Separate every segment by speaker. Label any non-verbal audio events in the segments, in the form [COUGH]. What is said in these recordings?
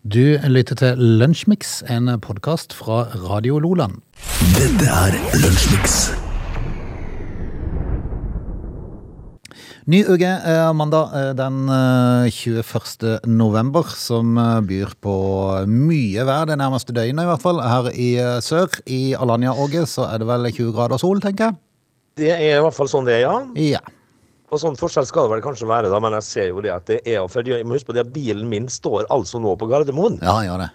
Speaker 1: Du lytter til Lunsjmix, en podkast fra Radio Loland.
Speaker 2: Dette er Lunsjmix.
Speaker 1: Ny uke, eh, mandag eh, den eh, 21. november, som eh, byr på mye vær det nærmeste døgnet, i hvert fall. Her i eh, sør, i Alanya-Åge, så er det vel 20 grader sol, tenker
Speaker 3: Det er i hvert fall sånn det er, ja.
Speaker 1: jeg. Ja.
Speaker 3: Og sånn forskjell skal det vel kanskje være, da, men jeg ser jo det at det er for Jeg må huske på det at bilen min står altså nå på Gardermoen,
Speaker 1: Ja, gjør det.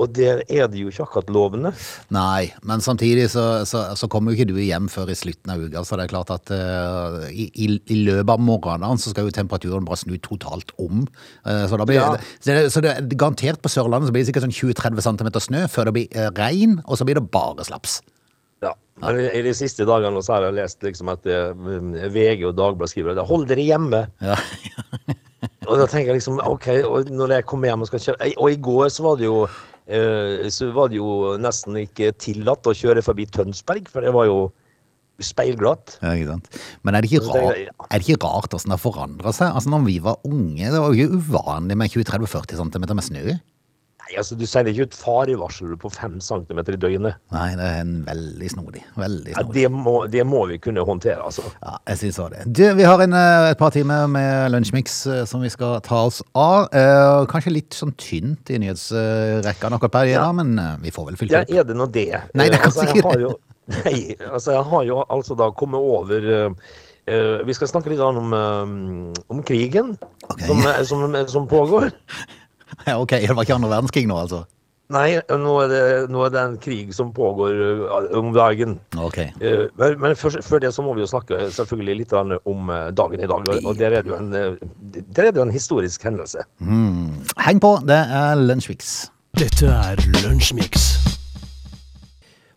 Speaker 3: og der er det jo ikke akkurat lovende.
Speaker 1: Nei, men samtidig så, så, så kommer jo ikke du hjem før i slutten av uka, så det er klart at eh, i, i, i løpet av morgenen så skal jo temperaturen bare snu totalt om. Eh, så, da blir,
Speaker 3: Ja.
Speaker 1: så, det, så det er garantert på Sørlandet så blir det sikkert sånn 20-30 cm snø før det blir eh, regn, og så blir det bare slaps.
Speaker 3: Ja. Men i i de siste dagene nå så har jeg lest liksom at eh, VG og Dagbladet skriver at 'hold dere hjemme'.
Speaker 1: Ja.
Speaker 3: Og da tenker jeg liksom OK, og når jeg kommer hjem og skal kjøre Og i går så var det jo eh, så var det jo nesten ikke tillatt å kjøre forbi Tønsberg, for det var jo speilglatt.
Speaker 1: Ja, ikke sant? Men er det ikke,
Speaker 3: Så
Speaker 1: rar,
Speaker 3: tenker jeg, ja.
Speaker 1: er det ikke rart hvordan det har forandra seg? Altså, når vi var unge, det var jo ikke uvanlig med 20-30-40 cm med snø.
Speaker 3: Nei, altså, du sender ikke ut farevarsel på fem centimeter i døgnet.
Speaker 1: Nei, det er en veldig snodig. Veldig
Speaker 3: Ja,
Speaker 1: snodig.
Speaker 3: det, må, det må vi kunne håndtere, altså.
Speaker 1: Ja, jeg synes også det. Du, vi har en, eh, et par timer med lunsjmix eh, som vi skal ta oss av. Eh, Kanskje litt sånn tynt i nyhetsrekka nok opp her i dag, men eh, vi får vel fylt
Speaker 3: Ja,
Speaker 1: opp.
Speaker 3: er det nå det?
Speaker 1: Nei, det er
Speaker 3: Eh,
Speaker 1: kanskje
Speaker 3: altså, jeg
Speaker 1: ikke
Speaker 3: har
Speaker 1: det.
Speaker 3: jo, nei, altså, jeg har jo altså da kommet over eh, eh, Vi skal snakke litt grann om, eh, om krigen
Speaker 1: Ok.
Speaker 3: som, eh, som, som pågår.
Speaker 1: [LAUGHS] Ja, ok, det var ikke andre verdenskrig nå, altså.
Speaker 3: Nei, nå er, det, nå er det en krig som pågår eh, om dagen.
Speaker 1: Ok.
Speaker 3: Eh, Men, men før, før det så må vi jo snakke eh, selvfølgelig litt grann om eh, dagen i dag. og- Og der er det jo en, eh, der er det jo en historisk hendelse.
Speaker 1: Hmm. Heng på, det er lunsjmix.
Speaker 2: Dette er Lunsjmix.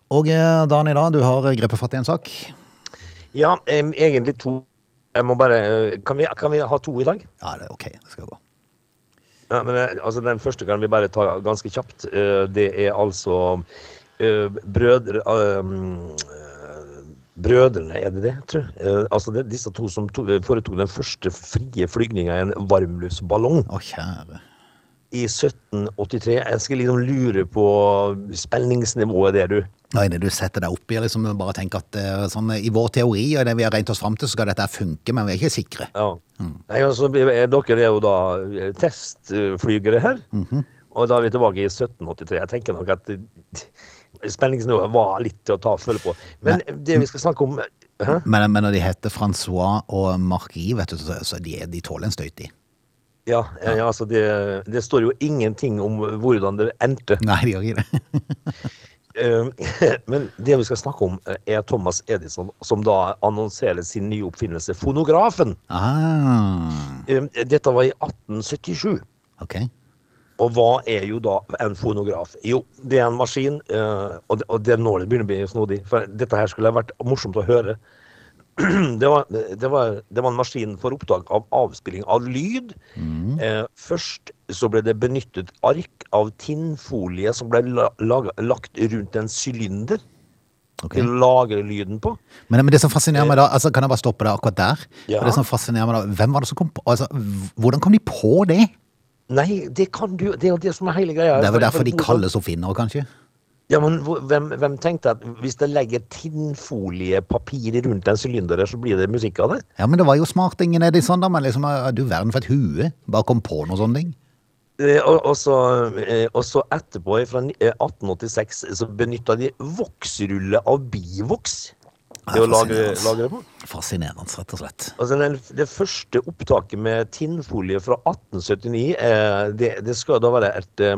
Speaker 1: Og eh, Dan i dag, du har grepet fatt i en sak.
Speaker 3: Ja, em, egentlig to. Jeg må bare eh, Kan vi, kan vi ha to i dag?
Speaker 1: Ja, det er ok, det skal gå.
Speaker 3: Ja, men eh, altså, Den første kan vi bare ta ganske kjapt. Eh, Det er altså eh, brødre eh, mm, eh, Brødrene, er det det, tror jeg? Eh, Altså det, er disse to som to, eh, foretok den første frie flygninga i en varmluftsballong
Speaker 1: Å, kjære.
Speaker 3: i 1783. Jeg skal liksom lure på spenningsnivået der, du.
Speaker 1: Nei, det du setter deg opp i, liksom bare tenker at eh, sånn, eh, i vår teori og det vi har regnet oss frem til, så skal dette her funke, men vi er ikke sikre.
Speaker 3: Ja. Nei, altså, eh, dere er jo da eh, testflygere her. Og da er vi tilbake i 1783. Jeg tenker nok at eh, spenningsnivået var litt til å ta og føle på. Men det vi skal snakke om Hæ?
Speaker 1: Men, men når de heter Francois og Marquis, vet du, så, så de, de tåler en støyt i.
Speaker 3: Ja, eh, ja altså det, det står jo ingenting om hvordan det endte.
Speaker 1: Nei, de gjør ikke det.
Speaker 3: Eh, [LAUGHS] Men det vi skal snakke om, eh, er Thomas Edison, som da annonserer sin nye oppfinnelse, fonografen.
Speaker 1: Ah,
Speaker 3: Eh, Dette var i 1877.
Speaker 1: ok.
Speaker 3: Og hva er jo da en fonograf? Jo, det er en maskin, eh, og det, og det er nå det begynner å bli snodig. For dette her skulle ha vært morsomt å høre. [CLEARS THROAT] Det var, det, var, det var en maskin for opptak av avspilling av lyd.
Speaker 1: Mm.
Speaker 3: Eh, først så ble det benyttet ark av tinnfolie som ble la, laga- lagt rundt en sylinder
Speaker 1: ok.
Speaker 3: til å lagre lyden på.
Speaker 1: Men, men det som fascinerer meg da, altså kan jeg bare stoppe deg akkurat der?
Speaker 3: Ja.
Speaker 1: For Det som fascinerer meg da, hvem var det som kom på, altså, h- hvordan kom de på det?
Speaker 3: Nei, det kan du Det er jo det som er hele greia.
Speaker 1: Det er vel derfor de
Speaker 3: Hvordan-
Speaker 1: kalles oppfinnere, kanskje?
Speaker 3: Ja, men hvor- hvem, hvem tenkte at hvis det legger tinnfoliepapir rundt en sylinder, der, så blir det musikk av det?
Speaker 1: Ja, men det var jo smartingen Edison da, men liksom, eh, du verden for et hue, bare kom på noe sånne ting.
Speaker 3: Eh, Og, og, så, eh, og så etterpå, fra ni- eh, 1886, så benytta de voksrulle av bivoks til å lagre, lagre på.
Speaker 1: Fascinerende, rett og slett. [LAUGHS]
Speaker 3: Altså den, det første opptaket med tinnfolie fra 1879, eh, det, det skal da være et, eh,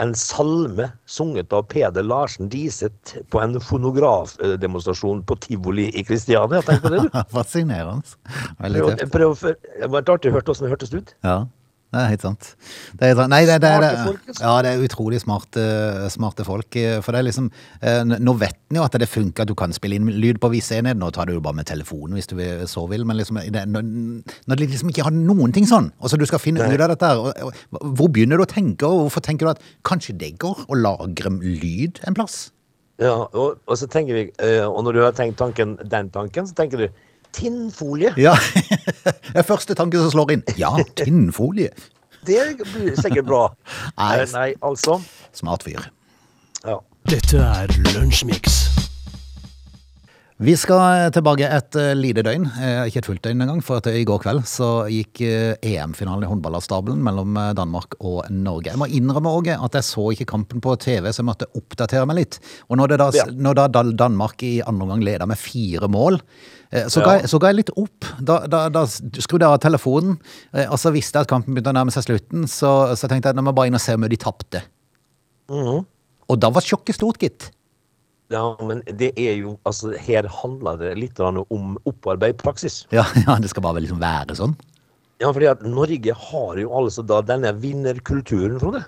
Speaker 3: en salme sunget av Peder Larsen Diseth på en fonografdemonstrasjon på tivoli i Kristiania. Tenk på det, du.
Speaker 1: Fascinerende. Veldig
Speaker 3: Prøv,
Speaker 1: tøft.
Speaker 3: prøv, før- det var litt artig å høre hvordan det hørtes ut.
Speaker 1: Ja, det er helt sant. Det er, helt sant. nei, det, det,
Speaker 3: Smarte folk,
Speaker 1: det,
Speaker 3: altså.
Speaker 1: ja, det er utrolig smarte, smarte folk. eh, For det er liksom, eh, n- nå vet en jo at det funker at du kan spille inn lyd på visse enheter. Nå tar du jo bare med telefonen hvis du vil- så vil, men liksom, det, når, når de liksom ikke har noen ting sånn, og så du skal finne
Speaker 3: Nei.
Speaker 1: ut av dette her, og, og, hvor begynner du å tenke, og hvorfor tenker du at kanskje det går å lagre lyd en plass?
Speaker 3: Ja, og, og så tenker vi, eh, og når du har tenkt tanken, den tanken, så tenker du tinnfolie.
Speaker 1: [LAUGHS] Ja, det er første tanke som slår inn. Ja, tinnfolie.
Speaker 3: Det blir sikkert bra.
Speaker 1: Nei.
Speaker 3: Eh, [LAUGHS] Nei, altså.
Speaker 1: Smart fyr.
Speaker 3: Ja.
Speaker 2: Dette er Lunsjmix.
Speaker 1: Vi skal tilbake et eh, lite døgn, eh, ikke et fullt døgn engang, for at i går kveld så gikk eh, EM-finalen i håndballavstabelen mellom eh, Danmark og Norge. Jeg må innrømme Åge, at jeg så ikke kampen på TV, så jeg måtte oppdatere meg litt. Og når, det da,
Speaker 3: Ja.
Speaker 1: når da Dal- Danmark i andre omgang leda med fire mål, eh, så, ga
Speaker 3: Ja.
Speaker 1: jeg, så ga jeg litt opp. Da, da, da skrudde jeg av telefonen, eh, og så visste jeg at kampen begynte å nærme seg slutten, så, så tenkte jeg at nå må jeg bare inn og se om de tapte.
Speaker 3: Mhm.
Speaker 1: Og da var sjokket stort, gitt.
Speaker 3: ja, men det er jo Altså, her handler det litt grann om opparbeid praksis.
Speaker 1: Ja, [LAUGHS] ja, det skal bare liksom være sånn.
Speaker 3: Ja, fordi at Norge har jo altså da denne vinnerkulturen, Frode.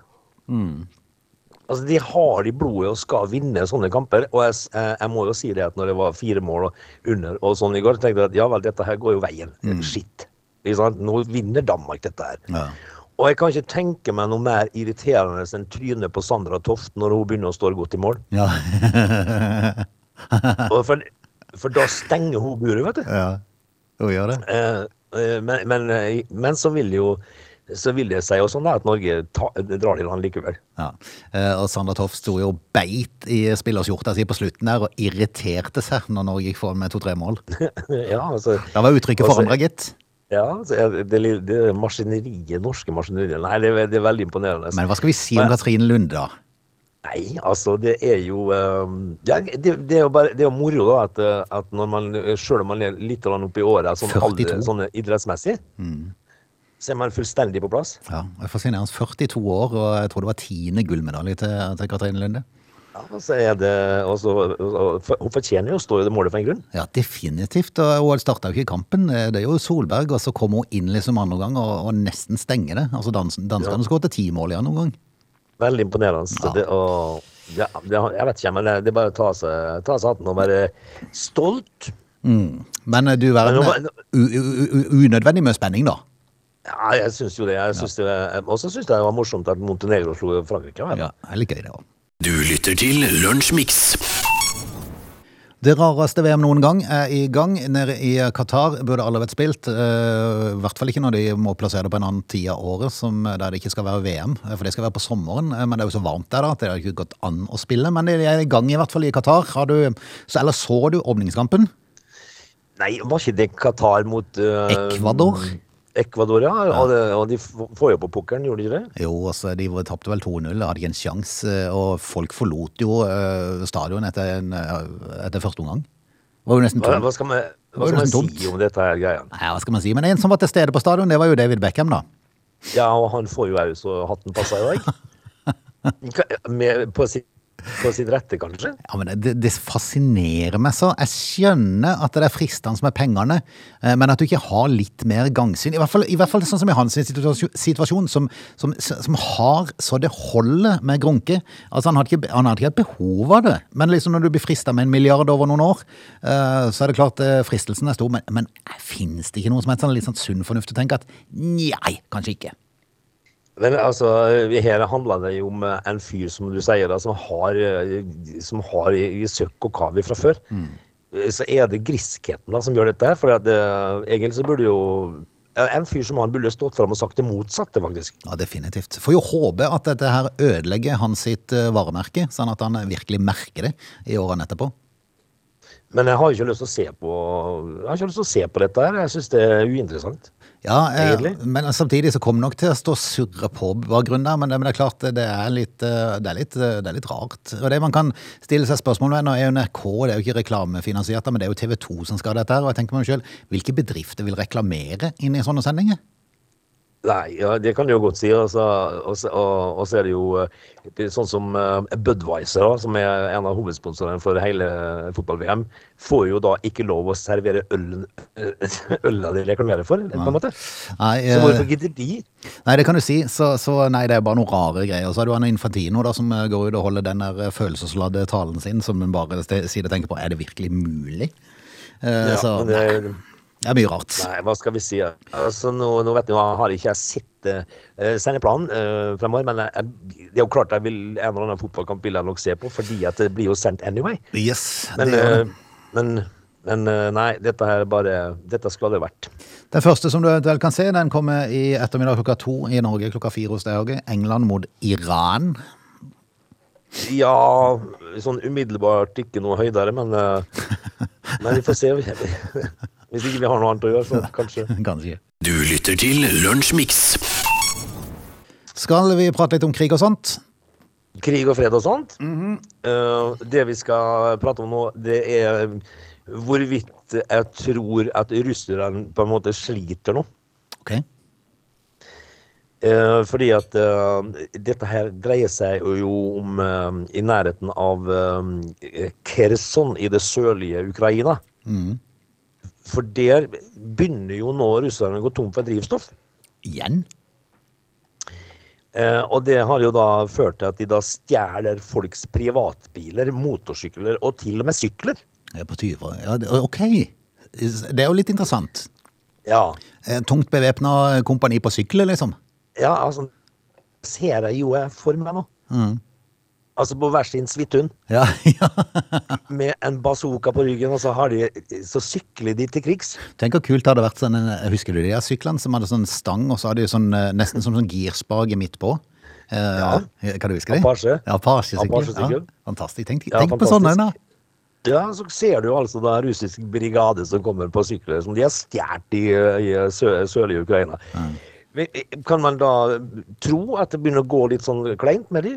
Speaker 3: Altså, De har det i blodet og skal vinne sånne kamper. Og jeg, s- eh, jeg må jo si det at når det var fire mål og under og sånn i går, tenkte jeg at ja vel, dette her går jo veien. Shit. Ikke sant? Nå vinner Danmark dette her.
Speaker 1: Ja.
Speaker 3: Og jeg kan ikke tenke meg noe mer irriterende enn trynet på Sandra Toft når hun begynner å stå godt i mål.
Speaker 1: Ja. [LAUGHS]
Speaker 3: Og For, for da stenger hun buret, vet du.
Speaker 1: ja. Hun gjør det.
Speaker 3: Eh, eh, men, men, eh, men så vil jo så vil det seg jo sånn da at Norge ta, drar til land likevel. [LAUGHS]
Speaker 1: Ja. Eh, Og Sander Toft sto jo beit i spillerskjorta si på slutten der og irriterte seg når Norge gikk foran med to-tre mål.
Speaker 3: ja, altså,
Speaker 1: Da var uttrykket
Speaker 3: Altså-
Speaker 1: forandra, gitt.
Speaker 3: ja, altså eh, det, li- det maskineriet, norske maskineriet Nei, det, er ve- det er veldig imponerende.
Speaker 1: Men hva skal vi si om
Speaker 3: Men-
Speaker 1: Katrine Lunde, da?
Speaker 3: Nei, altså, det er jo eh, ja, det, det, er jo bare, det er jo moro, da, at, eh, at når man, sjøl om man er litt grann oppi åra, sånn,
Speaker 1: 42.
Speaker 3: alder- sånn idrettsmessig, så er man fullstendig på plass.
Speaker 1: Ja, jeg får si nærmest 42 år, og jeg tror det var tiende gullmedalje til, til Katrine Lunde.
Speaker 3: Ja, og så er det, og så, og, og, Hun fortjener jo å stå i det målet for en grunn.
Speaker 1: Ja, definitivt. Og hun starta jo ikke kampen. Eh, Det er jo Solberg, og så kom hun inn liksom andre gang og, og nesten stenger det. Altså dans, Danskene
Speaker 3: Ja.
Speaker 1: skåret ti mål i andre omgang.
Speaker 3: Veldig imponerende. så
Speaker 1: Ja.
Speaker 3: Det, og, ja, det, jeg vet ikke, men det, det er bare å ta seg, ta seg hatten og være stolt.
Speaker 1: Mm. Men eh, du verden,
Speaker 3: Men nå-
Speaker 1: eh, u- u- u- unødvendig mye spenning, da.
Speaker 3: Ja, jeg syns jo det. jeg synes det Og så syns jeg det var morsomt at Montenegro slo Frankrike. vel?
Speaker 1: Ja, det er litt gøy, det òg.
Speaker 2: Du lytter til Lunsjmix.
Speaker 1: Det rareste VM noen gang er i gang. Nede i Qatar burde alle vært spilt. eh, I hvert fall ikke når de må plassere det på en annen tid av året, som, eh, der det ikke skal være VM. eh, For det skal være på sommeren, eh, men det er jo så varmt der da, at det har ikke gått an å spille. Men de er i gang i hvert fall i Qatar. Har du, så, eller så du åpningskampen?
Speaker 3: Nei, var ikke det Qatar mot eh,
Speaker 1: Ecuador?
Speaker 3: Ecuador, ja. Og, det, og de f- får jo på pukkelen, gjorde de ikke det?
Speaker 1: Jo, altså, de var- tapte vel 2-0, hadde ikke en sjanse. eh, Og folk forlot jo eh, stadion etter, en, eh, etter første omgang. Det var jo nesten
Speaker 3: Hva,
Speaker 1: tomt.
Speaker 3: hva skal man,
Speaker 1: var
Speaker 3: hva
Speaker 1: jo
Speaker 3: skal man
Speaker 1: nesten dumt.
Speaker 3: si om dette her greia?
Speaker 1: Nei, hva skal man si? Men en som var til stede på stadion, det var jo David Beckham, da.
Speaker 3: Ja, og han får jo òg så hatten passer i
Speaker 1: [LAUGHS]
Speaker 3: dag. Ka- Med, på, sitt, på sitt rette, kanskje?
Speaker 1: Ja, men det, det fascinerer meg så. Jeg skjønner at det er fristende med pengene, eh, men at du ikke har litt mer gangsyn. I hvert fall, i hvert fall sånn som i hans situasjon, situasjon som, som, som har så det holder med Grunke. Altså, han hadde ikke, han hadde ikke hatt behov av det, men liksom når du blir frista med en milliard over noen år, eh, så er det klart eh, fristelsen er stor, men, men fins det ikke noe som er sånn, litt sånn sunn fornuft å tenke at nei, kanskje ikke.
Speaker 3: Men altså, her handler det jo om eh, en fyr som du sier da, som har, eh, som har i, i søkk og kavi fra før. Eh, Så er det griskheten da som gjør dette her. For at, eh, egentlig så burde jo eh, En fyr som han burde stått fram og sagt det motsatte, faktisk.
Speaker 1: Ja, definitivt. Får jo håpe at dette her ødelegger hans sitt eh, varemerke, sånn at han virkelig merker det i årene etterpå.
Speaker 3: Men jeg har jo ikke lyst til å se på Jeg har ikke lyst til å se på dette her. Jeg syns det er uinteressant.
Speaker 1: Ja, eh,
Speaker 3: Egentlig.
Speaker 1: men samtidig så kommer det nok til å stå og surre på bakgrunnen der, men det, men det er klart det er litt, eh, det er litt, eh, det er litt rart. Og det man kan stille seg spørsmål ved, nå er jo NRK, det er jo ikke reklamefinansiert, men det er jo TV 2 som skal ha dette her, og jeg tenker meg selv, hvilke bedrifter vil reklamere inn i sånne sendinger?
Speaker 3: Nei, ja, det kan du jo godt si. Og så, og så, og, og så er det jo eh, det er sånn som eh, Budwiser, da, som er en av hovedsponsorene for hele fotball-VM, får jo da ikke lov å servere ølen, eh, [LAUGHS] øla de reklamerer for, på en måte.
Speaker 1: Nei,
Speaker 3: Så
Speaker 1: eh,
Speaker 3: hvorfor gidder de?
Speaker 1: Nei, det kan du si. Så, så nei, det er bare noen rare greier. Og så har du han Infantino da, som eh, går ut og holder den der eh, følelsesladde talen sin, som hun bare st- sier og tenker på, er det virkelig mulig? Eh,
Speaker 3: Ja,
Speaker 1: så
Speaker 3: men
Speaker 1: det...
Speaker 3: det,
Speaker 1: er mye rart.
Speaker 3: nei, hva skal vi si? Altså, nå, nå vet jeg, nå har ikke jeg sett eh, sendeplanen eh, fremover, men jeg, jeg, det er jo klart jeg vil en eller annen fotballkamp vil jeg nok se på, fordi at det blir jo sendt anyway.
Speaker 1: Yes,
Speaker 3: Men,
Speaker 1: det gjør det.
Speaker 3: eh, men Men eh, nei, dette her bare Dette skulle det vært.
Speaker 1: Den første som du eventuelt kan se, den kommer i ettermiddag klokka to i Norge klokka fire hos deg, Åge. England mot Iran. [LAUGHS]
Speaker 3: Ja, sånn umiddelbart ikke noe høydere, men eh, Nei, vi får se. [LAUGHS] Hvis ikke vi har noe annet å gjøre, så kanskje.
Speaker 1: Kanskje.
Speaker 2: Du lytter til Lunsjmix.
Speaker 1: Skal vi prate litt om krig og sånt?
Speaker 3: Krig og fred og sånt. Eh, det vi skal prate om nå, det er hvorvidt jeg tror at russerne på en måte sliter nå.
Speaker 1: Ok.
Speaker 3: Eh, fordi at eh, dette her dreier seg jo om eh, i nærheten av eh, Kherson i det sørlige Ukraina. For der begynner jo nå russerne å gå tom for drivstoff.
Speaker 1: Igjen?
Speaker 3: Eh, og det har jo da ført til at de da stjeler folks privatbiler, motorsykler og til og med sykler.
Speaker 1: Jeg er på 20. Ja, det- ok. Det er jo litt interessant.
Speaker 3: Ja,
Speaker 1: Eh, Tungt bevæpna kompani på sykler, liksom.
Speaker 3: ja altså Ser jeg jo jeg for meg nå. Altså på hver sin svithund.
Speaker 1: Ja, [LAUGHS] ja.
Speaker 3: med en bazooka på ryggen, og så, har de, så sykler de til krigs.
Speaker 1: Tenk hvor kult det hadde vært sånn eh, Husker du de der syklene som hadde sånn stang, og så hadde de sånn, eh, nesten som sånn girspage midt på? Eh,
Speaker 3: Ja.
Speaker 1: Kan du huske det?
Speaker 3: Apache.
Speaker 1: Ja, Apache-sykkel.
Speaker 3: Apache-sykkel.
Speaker 1: Ja, fantastisk. Tenk,
Speaker 3: Ja,
Speaker 1: tenk på sånne, da.
Speaker 3: fantastisk. Ja, så ser du jo altså da russisk brigade som kommer på sykler, som de har stjålet i, i eh, sø, sørlige Ukraina. Men eh, Kan man da tro at det begynner å gå litt sånn kleint med de?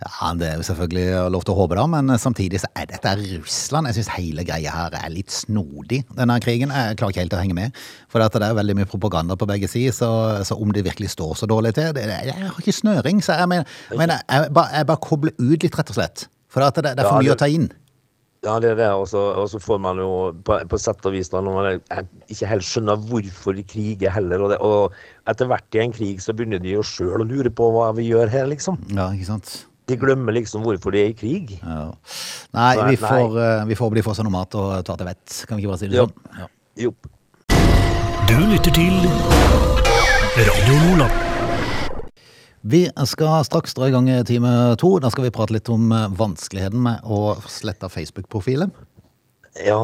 Speaker 1: Ja, Det er jo selvfølgelig lov til å håpe, da, men eh, samtidig så er dette Russland. Jeg syns hele greia her er litt snodig, denne krigen. Jeg klarer ikke helt å henge med. For at det er veldig mye propaganda på begge sider, så, så om det virkelig står så dårlig til det, Jeg har ikke snøring, så jeg mener, jeg, mener, jeg, bare, jeg bare kobler ut litt, rett og slett. For at det, det er for mye
Speaker 3: Ja, det-
Speaker 1: å ta inn.
Speaker 3: Ja, det er det, og så, og så får man jo på, på sett og vis da, når man er- er- ikke helt skjønner hvorfor de kriger heller, og, det, og etter hvert i en krig så begynner de jo sjøl å lure på hva vi gjør her, liksom.
Speaker 1: Ja, ikke sant?
Speaker 3: De glemmer liksom hvorfor de er i krig.
Speaker 1: Ja. Nei,
Speaker 3: Nei,
Speaker 1: vi
Speaker 3: nei.
Speaker 1: får, eh, vi får bli få seg noe mat og ta til vett. Kan vi ikke bare si det
Speaker 3: Ja.
Speaker 1: sånn? Ja.
Speaker 3: Jo.
Speaker 2: Du lytter til Radio Lola.
Speaker 1: Vi skal straks dra i gang time to. Da skal vi prate litt om eh, vanskeligheten med å slette Facebook-profilen.
Speaker 3: Ja,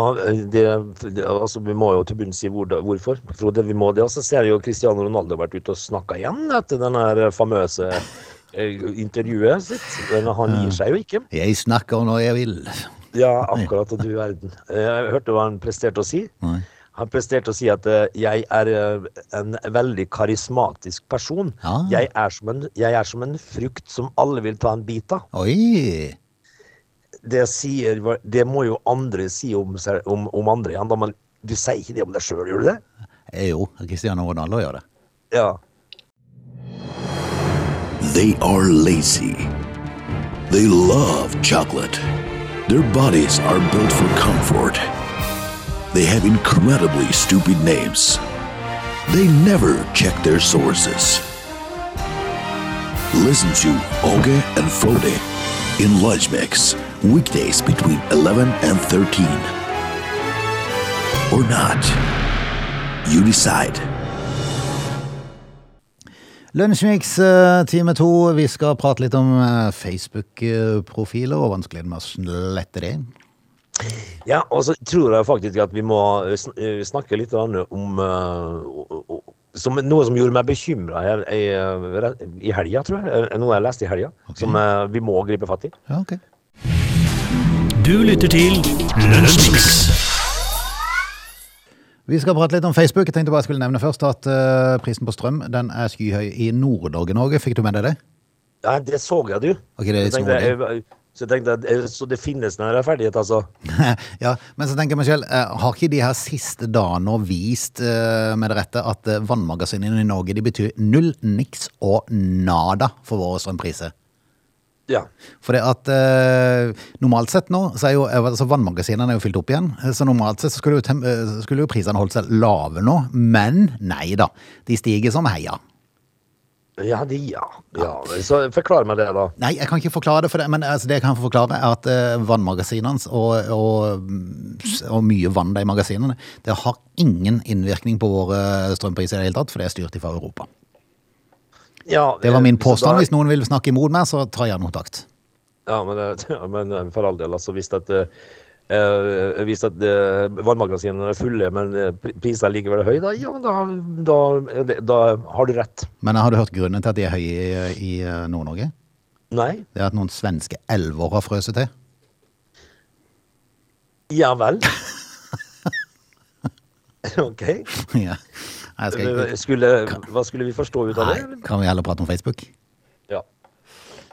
Speaker 3: det, det, altså vi må jo til bunns i hvor, hvorfor. Frode, vi må det. Og så ser jeg jo Cristiano Ronaldo har vært ute og snakka igjen etter den her famøse eh, intervjuet sitt. Men han gir seg jo ikke.
Speaker 1: Jeg snakker når jeg vil.
Speaker 3: Ja, akkurat. Og du verden. Eh, Jeg hørte hva han presterte å si.
Speaker 1: Nei.
Speaker 3: Han presterte å si at eh, jeg er eh, en veldig karismatisk person.
Speaker 1: Ja.
Speaker 3: Jeg, er som en, jeg er som en frukt som alle vil ta en bit av.
Speaker 1: Oi!
Speaker 3: Det, sier, det må jo andre si om, seg- om, om andre igjen. da, Men du sier ikke det om deg sjøl, gjør du det?
Speaker 1: Eh, Jo, Cristiano Ronaldo gjør det.
Speaker 3: Ja.
Speaker 2: They are lazy. They love chocolate. Their bodies are built for comfort. They have incredibly stupid names. They never check their sources. Listen to Oge and Frode in Lunch Mix, weekdays between 11 and 13. Or not. You decide.
Speaker 1: Lunsjmix eh, time to. Vi skal prate litt om eh, Facebook-profiler og vanskeligheten med å slette det.
Speaker 3: Ja, og så tror jeg faktisk at vi må eh, sn- eh, snakke litt grann om eh, o- o- som, noe som gjorde meg bekymra her i, eh, re- i helga, tror jeg. Eh, Noe jeg leste i helga, som eh, vi må gripe fatt i.
Speaker 1: Ja, ok.
Speaker 2: Du lytter til Lunsjmix.
Speaker 1: Vi skal prate litt om Facebook. Jeg tenkte bare jeg skulle nevne først at eh, prisen på strøm den er skyhøy i Nord-Norge Norge. Fikk du med deg det?
Speaker 3: Ja, det så jeg, du.
Speaker 1: Ok, det er litt
Speaker 3: så, tenkte, jeg, eh, så jeg tenkte at, eh, Så det finnes en rettferdighet, altså?
Speaker 1: [LAUGHS] ja, men så tenker jeg meg selv, eh, har ikke de her siste dagene vist eh, med det rette at eh, vannmagasinene i Norge de betyr null, niks og nada for våre strømpriser?
Speaker 3: Ja.
Speaker 1: For det at eh, normalt sett nå, så er jo eh, altså vannmagasinene er jo fylt opp igjen. eh, Så normalt sett så skulle jo, tem- eh, skulle jo prisene holdt seg lave nå, men nei da. De stiger som heia.
Speaker 3: Ja, de, ja. ja. Så forklar meg det, da.
Speaker 1: Nei, jeg kan ikke forklare det, for det men altså, det jeg kan forklare, er at eh, vannmagasinene hans og, og, og mye vann det er i magasinene, det har ingen innvirkning på våre eh, strømpriser i det hele tatt, for det er styrt fra Europa.
Speaker 3: Ja,
Speaker 1: Det var
Speaker 3: eh,
Speaker 1: min
Speaker 3: så da-
Speaker 1: påstand. Hvis noen vil snakke imot meg, så ta gjerne kontakt.
Speaker 3: [LAUGHS] Ja, men, eh, ja, men eh, for all del, altså hvis at eh, eh, hvis at eh, varemagasinene er fulle, men eh, pri- prisene likevel er høye, da, ja, da, da, da har du rett.
Speaker 1: Men har du hørt grunnen til at de er høye i, i Nord-Norge?
Speaker 3: Nei.
Speaker 1: Det er at noen svenske elver har frøset til. [LAUGHS]
Speaker 3: Ja vel. [LAUGHS] OK. eh,
Speaker 1: ja. Nei, jeg skal ikke.
Speaker 3: Skulle, hva skulle vi forstå ut av
Speaker 1: Nei,
Speaker 3: det?
Speaker 1: kan vi heller prate om Facebook?
Speaker 3: Ja.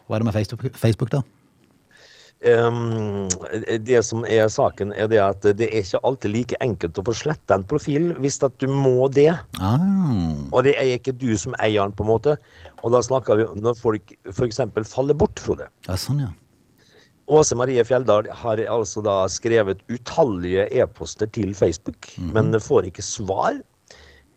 Speaker 1: Hva er det med Facebook, Facebook da?
Speaker 3: Ehm, det som er saken, er det at det er ikke alltid like enkelt å få sletta en profil hvis at du må det.
Speaker 1: Ah,
Speaker 3: Og det er ikke du som eier den, på en måte. Og da snakker vi om når folk f.eks. faller bort, Frode.
Speaker 1: ja, sånn, ja.
Speaker 3: Åse Marie Fjelldal har altså da skrevet utallige e-poster til Facebook, men får ikke svar.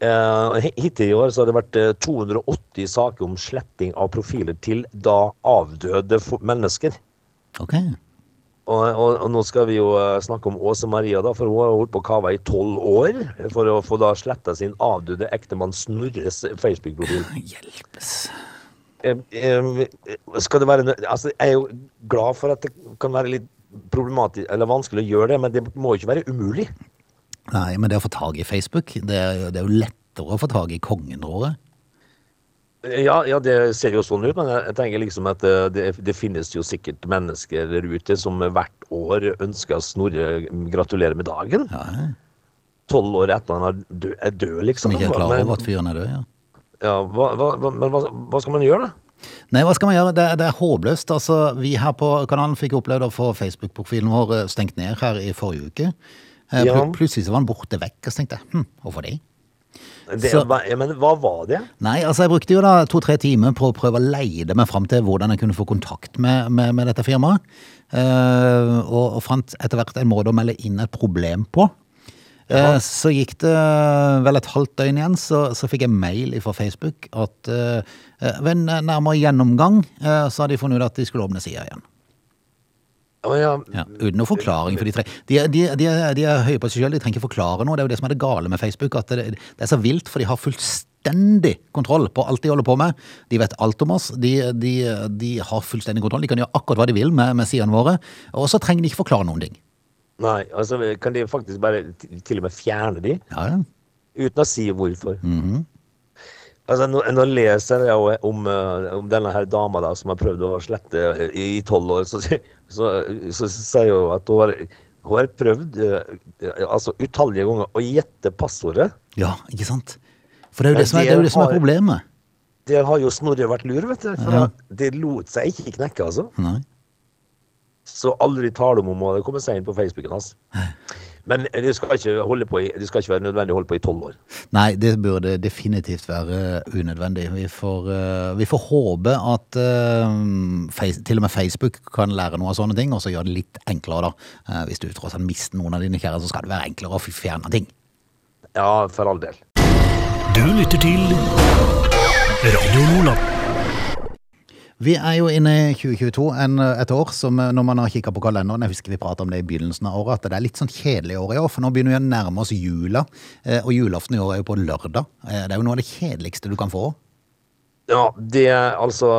Speaker 3: Eh, hittil i år så har det vært eh, 280 saker om sletting av profiler til da avdøde fo- mennesker.
Speaker 1: Ok.
Speaker 3: Og, og, og nå skal vi jo eh, snakke om Åse Maria, da, for hun har holdt på kava i tolv år for å få da sletta sin avdøde ektemann Snorres Facebook-profil.
Speaker 1: Hjelpes.
Speaker 3: Eh, eh, skal det være nø- altså, Jeg er jo glad for at det kan være litt problematisk eller vanskelig å gjøre det, men det må jo ikke være umulig.
Speaker 1: Nei, men det å få tag i Facebook, det er, jo- det er jo lettere å få tag i kongenrådet.
Speaker 3: Ja, ja, det ser jo sånn ut, men jeg jeg tenker liksom at eh, det, det finnes jo sikkert mennesker der ute som hvert år ønsker Snorre gratulerer med dagen.
Speaker 1: Ja,
Speaker 3: Tolv år etter han er død, er død liksom.
Speaker 1: som ikke er klar
Speaker 3: Men-
Speaker 1: over at fyren er død, ja.
Speaker 3: Ja, hva, hva, hva, men hva, hva skal man gjøre, da?
Speaker 1: Nei, hva skal man gjøre? Det, det er håpløst. Altså, vi her på kanalen fikk opplevd å få Facebook-profilen vår eh, stengt ned her i forrige uke. Eh,
Speaker 3: Ja.
Speaker 1: pl- Plutselig så var den borte vekk, og så tenkte jeg hm, hvorfor det?
Speaker 3: Det,
Speaker 1: Så-
Speaker 3: hva, jeg mener, hva var det?
Speaker 1: Nei, altså jeg brukte jo da to-tre timer på å prøve å leide meg fram til hvordan jeg kunne få kontakt med, med, med dette firmaet. Eh, og, og fant etter hvert en måte å melde inn et problem på. Eh, så gikk det eh, vel et halvt døgn igjen, så, så fikk jeg mail fra Facebook at eh, eh, ved en nærmere gjennomgang eh, så hadde de funnet ut at de skulle åpne sida igjen.
Speaker 3: Å, ja.
Speaker 1: Ja, uten noen forklaring for de tre. De, er- de, er- de, er- de er høye på seg sjøl, de trenger ikke forklare noe. Det er jo det som er det gale med Facebook, at det, det er så vilt, for de har fullstendig kontroll på alt de holder på med. De vet alt om oss, de, de, de har fullstendig kontroll. De kan gjøre akkurat hva de vil med, med sidene våre, og så trenger de ikke forklare noen ting.
Speaker 3: Nei, altså kan de faktisk bare t- til og med fjerne de,
Speaker 1: Ja, ja.
Speaker 3: uten å si hvorfor. Altså, nå, nå leser jeg jo om, eh, om denne her dama da, som har prøvd å slette eh, i i tolv år, så, så, så, så sier hun jo at hun har, hun har prøvd eh, altså, utallige ganger å gjette passordet.
Speaker 1: ja ikke sant? For det er jo
Speaker 3: Ja,
Speaker 1: det som er, det er, jo det som
Speaker 3: de
Speaker 1: er
Speaker 3: har-
Speaker 1: problemet.
Speaker 3: Der har jo Snorre vært lur, vet du. For
Speaker 1: Ja.
Speaker 3: det lot seg ikke knekke, altså.
Speaker 1: Nei.
Speaker 3: Så aldri tale om om hun hadde kommet seg inn på Facebooken hans. Men det skal ikke, holde på i, det skal ikke være nødvendig å holde på i tolv år.
Speaker 1: Nei, det burde definitivt være unødvendig. Vi får, eh, vi får håpe at eh, face, til og med Facebook kan lære noe av sånne ting, og så gjøre det litt enklere, da. Eh, hvis du tross alt mister noen av dine kjære, så skal det være enklere å fjerne ting.
Speaker 3: Ja, for all del.
Speaker 4: Du lytter til Radio Lola.
Speaker 1: Vi er jo inne i 2022, en, et år som eh, når man har kikka på kalenderen Jeg husker vi pratet om det i begynnelsen av året, at det er litt sånn kjedelig år i år. For nå begynner vi å nærme oss jula, eh, og julaften i år er jo på lørdag. Eh, Det er jo noe av det kjedeligste du kan få.
Speaker 3: Ja, det er altså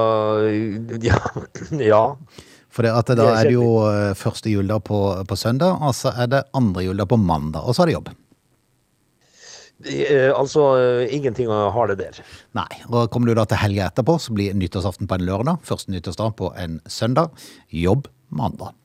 Speaker 3: Ja. [LAUGHS] ja.
Speaker 1: For det at da
Speaker 3: Det er
Speaker 1: er det jo eh, første juledag på, på søndag, og så er det andre juledag på mandag, og så er det jobb.
Speaker 3: Eh, Altså, eh, ingenting har det der.
Speaker 1: Nei, og kommer du da til helga etterpå, så blir nyttårsaften på en lørdag, første nyttårsdag på en søndag, jobb mandag.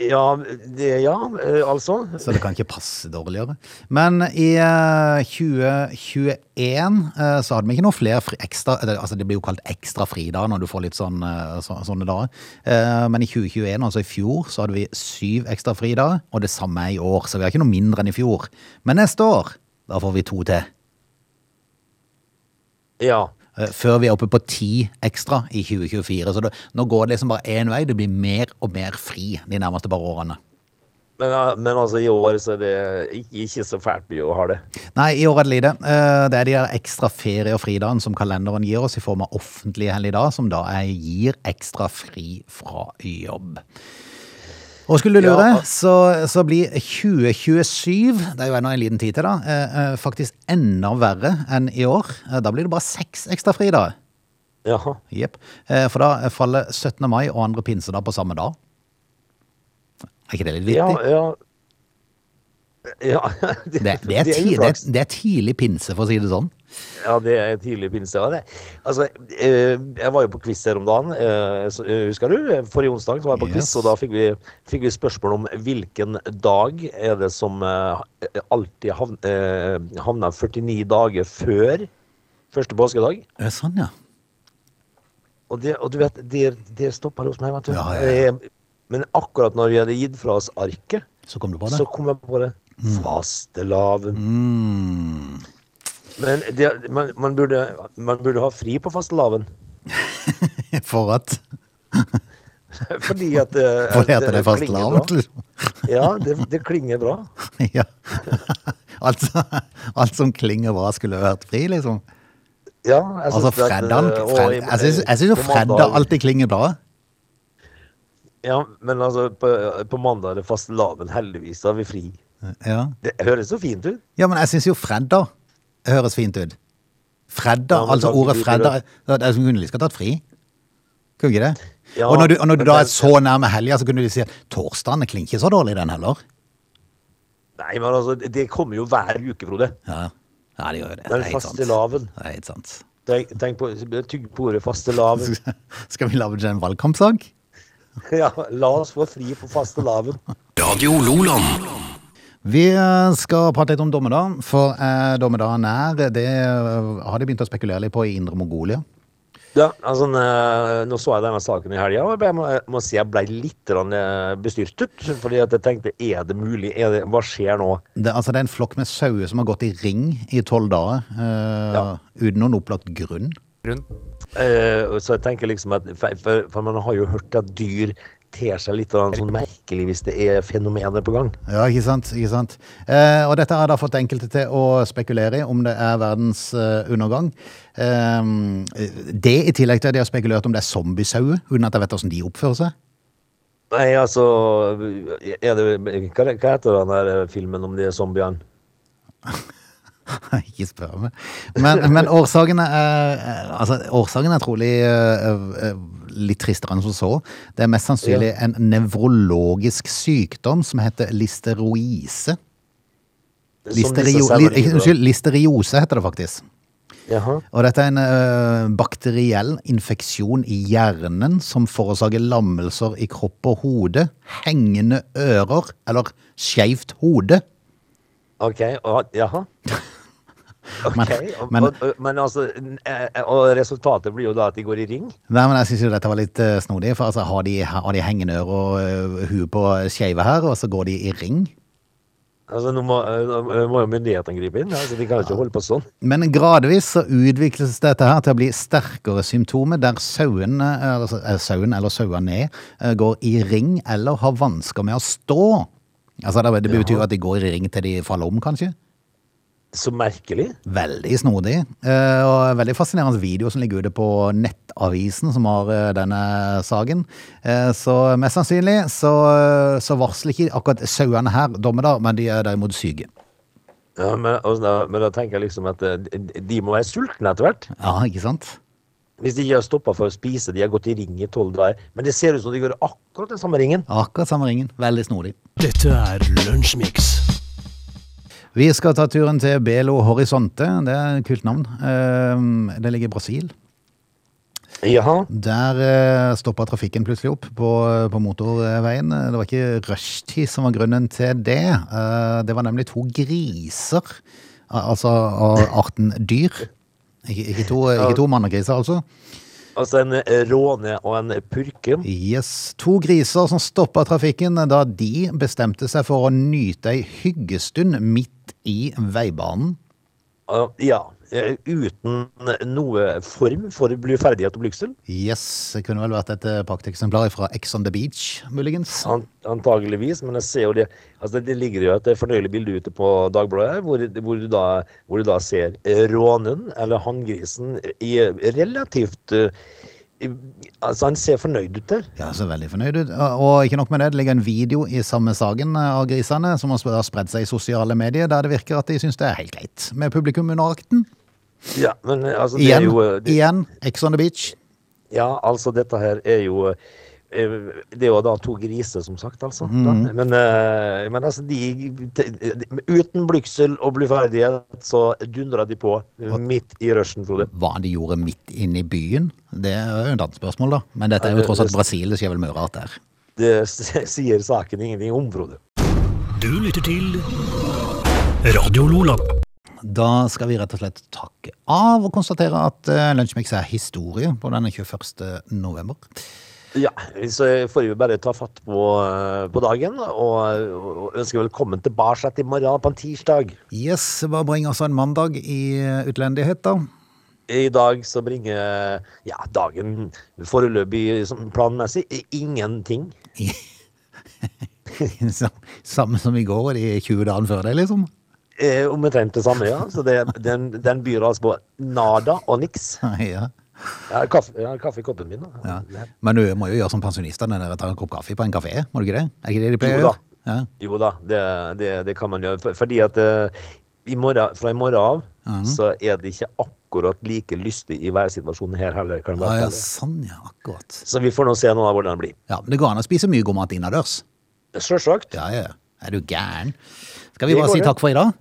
Speaker 3: Ja, det, ja eh, altså.
Speaker 1: Så det kan ikke passe dårligere. Men i eh, 2021 eh, så hadde vi ikke noe flere fri, ekstra eller, Altså det blir jo kalt ekstra fridager når du får litt sånn, eh, så, sånne dager. Eh, Men i 2021, altså i fjor, så hadde vi syv ekstra fridager, og det samme er i år. Så vi har ikke noe mindre enn i fjor. Men neste år, da får vi to til.
Speaker 3: Ja.
Speaker 1: Eh, Før vi er oppe på ti ekstra i 2024. Så det, nå går det liksom bare én vei. Det blir mer og mer fri de nærmeste par årene.
Speaker 3: Men, eh, men altså, i år så er det ikke- ikke så fælt mye å ha det.
Speaker 1: Nei, i år er det lite. Eh, Det er de der ekstra ferie- og fridagen som kalenderen gir oss i form av offentlige helligdager, som da er, gir ekstra fri fra jobb. Og skulle du lure,
Speaker 3: Ja.
Speaker 1: så, så blir 2027, det er jo ennå en liten tid til da, eh, eh, faktisk enda verre enn i år. Eh, Da blir det bare seks ekstra fridager.
Speaker 3: Jaha.
Speaker 1: Jepp. Eh, For da faller 17. mai og andre pinsedag på samme dag. Er ikke det litt
Speaker 3: Ja,
Speaker 1: vittig?
Speaker 3: ja. Ja, [LAUGHS]
Speaker 1: Det,
Speaker 3: det,
Speaker 1: det, er
Speaker 3: det er
Speaker 1: ti, det,
Speaker 3: uflaks.
Speaker 1: det er tidlig pinse, for å si det sånn.
Speaker 3: Ja, det er tidlig pinse. Ja, det. Altså, eh, jeg var jo på quiz her om dagen, eh, så, eh, husker du? Forrige onsdag så var jeg på quiz,
Speaker 1: Yes.
Speaker 3: og da fikk vi, fikk vi spørsmål om hvilken dag er det som eh, alltid havn, eh, havner 49 dager før første påskedag.
Speaker 1: Ja, Sånn, ja.
Speaker 3: Og, det, og du vet, det, det stopper hos meg, vet du.
Speaker 1: Ja, ja, ja.
Speaker 3: Eh, Men akkurat når vi hadde gitt fra oss arket,
Speaker 1: Så kom du på det.
Speaker 3: så kom jeg på det. Fastelavn.
Speaker 1: Mm.
Speaker 3: Men det, man, man, burde, man burde ha fri på fastelavn.
Speaker 1: [LAUGHS] For at
Speaker 3: [LAUGHS] Fordi at
Speaker 1: [LAUGHS]
Speaker 3: eh,
Speaker 1: For det heter det
Speaker 3: klinger bra.
Speaker 1: fastelavn. liksom. [LAUGHS]
Speaker 3: Ja, det, det klinger bra.
Speaker 1: Ja. Alt, som- alt som klinger bra, skulle vært fri, liksom.
Speaker 3: Ja, jeg
Speaker 1: Altså
Speaker 3: synes at, eh,
Speaker 1: fredagen
Speaker 3: og
Speaker 1: fred,
Speaker 3: i-
Speaker 1: Jeg syns- jeg syns jo
Speaker 3: på
Speaker 1: fredag
Speaker 3: mandag-
Speaker 1: alltid klinger bra.
Speaker 3: Ja, men altså, på, på mandag er det fastelavn. Heldigvis har vi fri.
Speaker 1: Ja,
Speaker 3: Det høres så fint ut.
Speaker 1: ja men jeg syns jo fredag høres fint ut. Fredag,
Speaker 3: Ja, men
Speaker 1: altså
Speaker 3: da-
Speaker 1: ordet
Speaker 3: du- du-
Speaker 1: fredag det er som Kunne de skal tatt fri? Kunne ikke det?
Speaker 3: Ja,
Speaker 1: og når du, og når du
Speaker 3: men
Speaker 1: da
Speaker 3: det-
Speaker 1: er så nærme helga, så kunne de si at torsdagen klinger ikke så dårlig, den heller.
Speaker 3: Nei, men altså, det kommer jo hver uke, Frode.
Speaker 1: Ja, ja det gjør jo det.
Speaker 3: Det
Speaker 1: Det
Speaker 3: er
Speaker 1: er helt sant.
Speaker 3: fastelavn.
Speaker 1: Det er helt sant. [LAUGHS]
Speaker 3: Tenk, tenk på, tygg på ordet fastelavn.
Speaker 1: Skal vi lage en valgkampsak?
Speaker 3: Ja, la oss få fri på fastelavn.
Speaker 4: Radio Loland.
Speaker 1: Vi eh, skal prate litt om dommedag, for eh, dommedagen er Det eh, har de begynt å spekulere litt på i Indre Mongolia.
Speaker 3: Ja, altså, eh, nå så jeg denne saken i helga, og jeg må, jeg må si jeg ble litt grann, eh, bestyrtet. Fordi at jeg tenkte, er det mulig? Er det, hva skjer nå?
Speaker 1: Det, altså, det er en flokk med sauer som har gått i ring i tolv dager eh,
Speaker 3: Ja.
Speaker 1: uten noen opplagt grunn.
Speaker 3: Eh, og så jeg tenker liksom at, for, for, for man har jo hørt at dyr ter seg litt grann sånn merkelig hvis det er fenomener på gang.
Speaker 1: Ja, ikke sant? Ikke sant? Eh, og dette har da fått enkelte til å spekulere i om det er verdens eh, undergang. Eh, det i tillegg til at de har spekulert om det er zombiesauer, uten at jeg vet hvordan de oppfører seg.
Speaker 3: Nei, altså er det, hva, hva heter den der eh, filmen om de zombiene?
Speaker 1: [LAUGHS] Ikke spør meg. Men, men årsakene er, altså, årsaken er trolig eh, eh, litt tristere enn som så. Det er mest sannsynlig en nevrologisk sykdom som heter listeroise.
Speaker 3: Som
Speaker 1: Listerio, li,
Speaker 3: disse sauene-
Speaker 1: unnskyld, listeriose heter det faktisk.
Speaker 3: Jaha.
Speaker 1: Og dette er en eh, bakteriell infeksjon i hjernen som forårsaker lammelser i kropp og hode, hengende ører eller skeivt hode.
Speaker 3: Ok, og, jaha. Ok, og,
Speaker 1: [LAUGHS] men-
Speaker 3: og, og, men altså eh, Og resultatet blir jo da at de går i ring?
Speaker 1: Nei, men jeg synes jo dette var litt eh, snodig, for altså, har, de, har de hengende ører og uh, huet på skeive her, og så går de i ring?
Speaker 3: Altså, nå må, nå må jo myndighetene gripe inn. Altså, de kan jo ikke holde på sånn.
Speaker 1: Men gradvis så utvikles dette her til å bli sterkere symptomer der sauen, eller, eh, sauen eller sauene eh, går i ring eller har vansker med å stå. Altså, det, det betyr jo at de går i ring til de faller om, kanskje.
Speaker 3: Så merkelig.
Speaker 1: Veldig snodig, eh, og veldig fascinerende video som ligger ute på Nettavisen, som har eh, denne saken. Eh, Så mest sannsynlig så, eh, så varsler ikke akkurat sauene her dommedag, men de er derimot syke.
Speaker 3: Ja, men, og, da- men da tenker jeg liksom at eh, de de må være sultne etter hvert.
Speaker 1: Ja, ikke sant?
Speaker 3: Hvis de ikke har stoppa for å spise. De har gått i ring i tolv dager. Men det ser ut som de går akkurat den samme ringen.
Speaker 1: Akkurat samme ringen. Veldig snodig.
Speaker 4: Dette er Lunsjmix.
Speaker 1: Vi skal ta turen til Belo Horizonte. Det er et kult navn. Eh, Det ligger i Brasil.
Speaker 3: Jaha.
Speaker 1: Der stoppa trafikken plutselig opp på, eh, på motorveien. Det var ikke rushtid som var grunnen til det. Eh, Det var nemlig to griser, al- altså av arten dyr. Ikke, ikke to, eh, ikke to mannegriser, altså.
Speaker 3: Altså en eh, råne og en purke.
Speaker 1: Yes. To griser som stoppa trafikken da de bestemte seg for å nyte ei hyggestund midt i veibanen.
Speaker 3: Og- Ja. eh, Uten noe form for bluferdighet og blygsel.
Speaker 1: Yes, det kunne vel vært et eh, prakteksemplar fra Ex on the Beach, muligens.
Speaker 3: An- Antageligvis, men jeg ser jo det altså Det ligger jo et fornøyelig bilde ute på Dagbladet, her, hvor, hvor, du da, hvor du da ser eh, rånen, eller hanngrisen, i relativt eh, i- Altså, han ser fornøyd ut der.
Speaker 1: Ja, så veldig fornøyd ut. Og og ikke nok med det, det ligger en video i samme saken eh, av grisene, som har sp- har spredd seg i sosiale medier, der det virker at de syns det er helt greit med publikum under akten.
Speaker 3: Ja, men eh, altså, det er
Speaker 1: Igjen,
Speaker 3: jo eh, det,
Speaker 1: igjen, Ex on the Beach.
Speaker 3: Ja, altså, dette her er jo eh, eh, Det er jo da to griser, som sagt, altså. da.
Speaker 1: Mm.
Speaker 3: Men, eh, men altså, de, de, Uten blygsel og blyferdighet så dundra de på midt i rushen, Frode.
Speaker 1: Hva de gjorde midt inne i byen, det er jo et annet spørsmål, da. Men dette er jo tross alt Brasil, det skjer vel mye rart der.
Speaker 3: Det s- sier saken ingenting om, Frode.
Speaker 4: Du lytter til Radio Lola.
Speaker 1: Da skal vi rett og slett takke av og konstatere at eh, Lunsjmix er historie på denne 21. november.
Speaker 3: Ja, så får vi bare ta fatt på, eh, på dagen og, og ønske velkommen tilbake i morgen på en tirsdag.
Speaker 1: Yes, hva bringer oss en mandag i eh, utlendighet, da?
Speaker 3: I dag så bringer ja, dagen foreløpig som planmessig i- ingenting.
Speaker 1: [LAUGHS] Samme som i går og de 20 dagene før det, liksom. [LAUGHS]
Speaker 3: Eh, Omtrent det samme, ja. Så det, den, den byr altså på nada og niks.
Speaker 1: ja.
Speaker 3: Jeg har kaffe, jeg har kaffe i koppen min. Da.
Speaker 1: Ja. Men du må jo gjøre som pensjonistene, dere tar en kopp kaffe på en kafé, må du ikke det? Er ikke det de pleier å
Speaker 3: Jo da.
Speaker 1: gjøre? Ja.
Speaker 3: Jo da, det, det, det kan man gjøre. For- Fordi at eh, i morgen, fra i morgen av så er det ikke akkurat like lystig i værsituasjonen her heller. kan jeg
Speaker 1: Ja,
Speaker 3: bare
Speaker 1: ja,
Speaker 3: fortelle.
Speaker 1: sånn ja, akkurat.
Speaker 3: Så vi får nå se nå da hvordan det blir.
Speaker 1: Ja, men det går an å spise mye god mat innendørs.
Speaker 3: Sjølsagt.
Speaker 1: Ja, ja. Er du gæren? Skal vi
Speaker 3: Det
Speaker 1: bare si
Speaker 3: går, det.
Speaker 1: takk for i dag?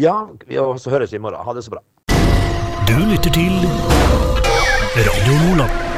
Speaker 3: Ja, vi- og så høres vi i morgen. Ha det så bra.
Speaker 4: Du lytter til Radio Lola.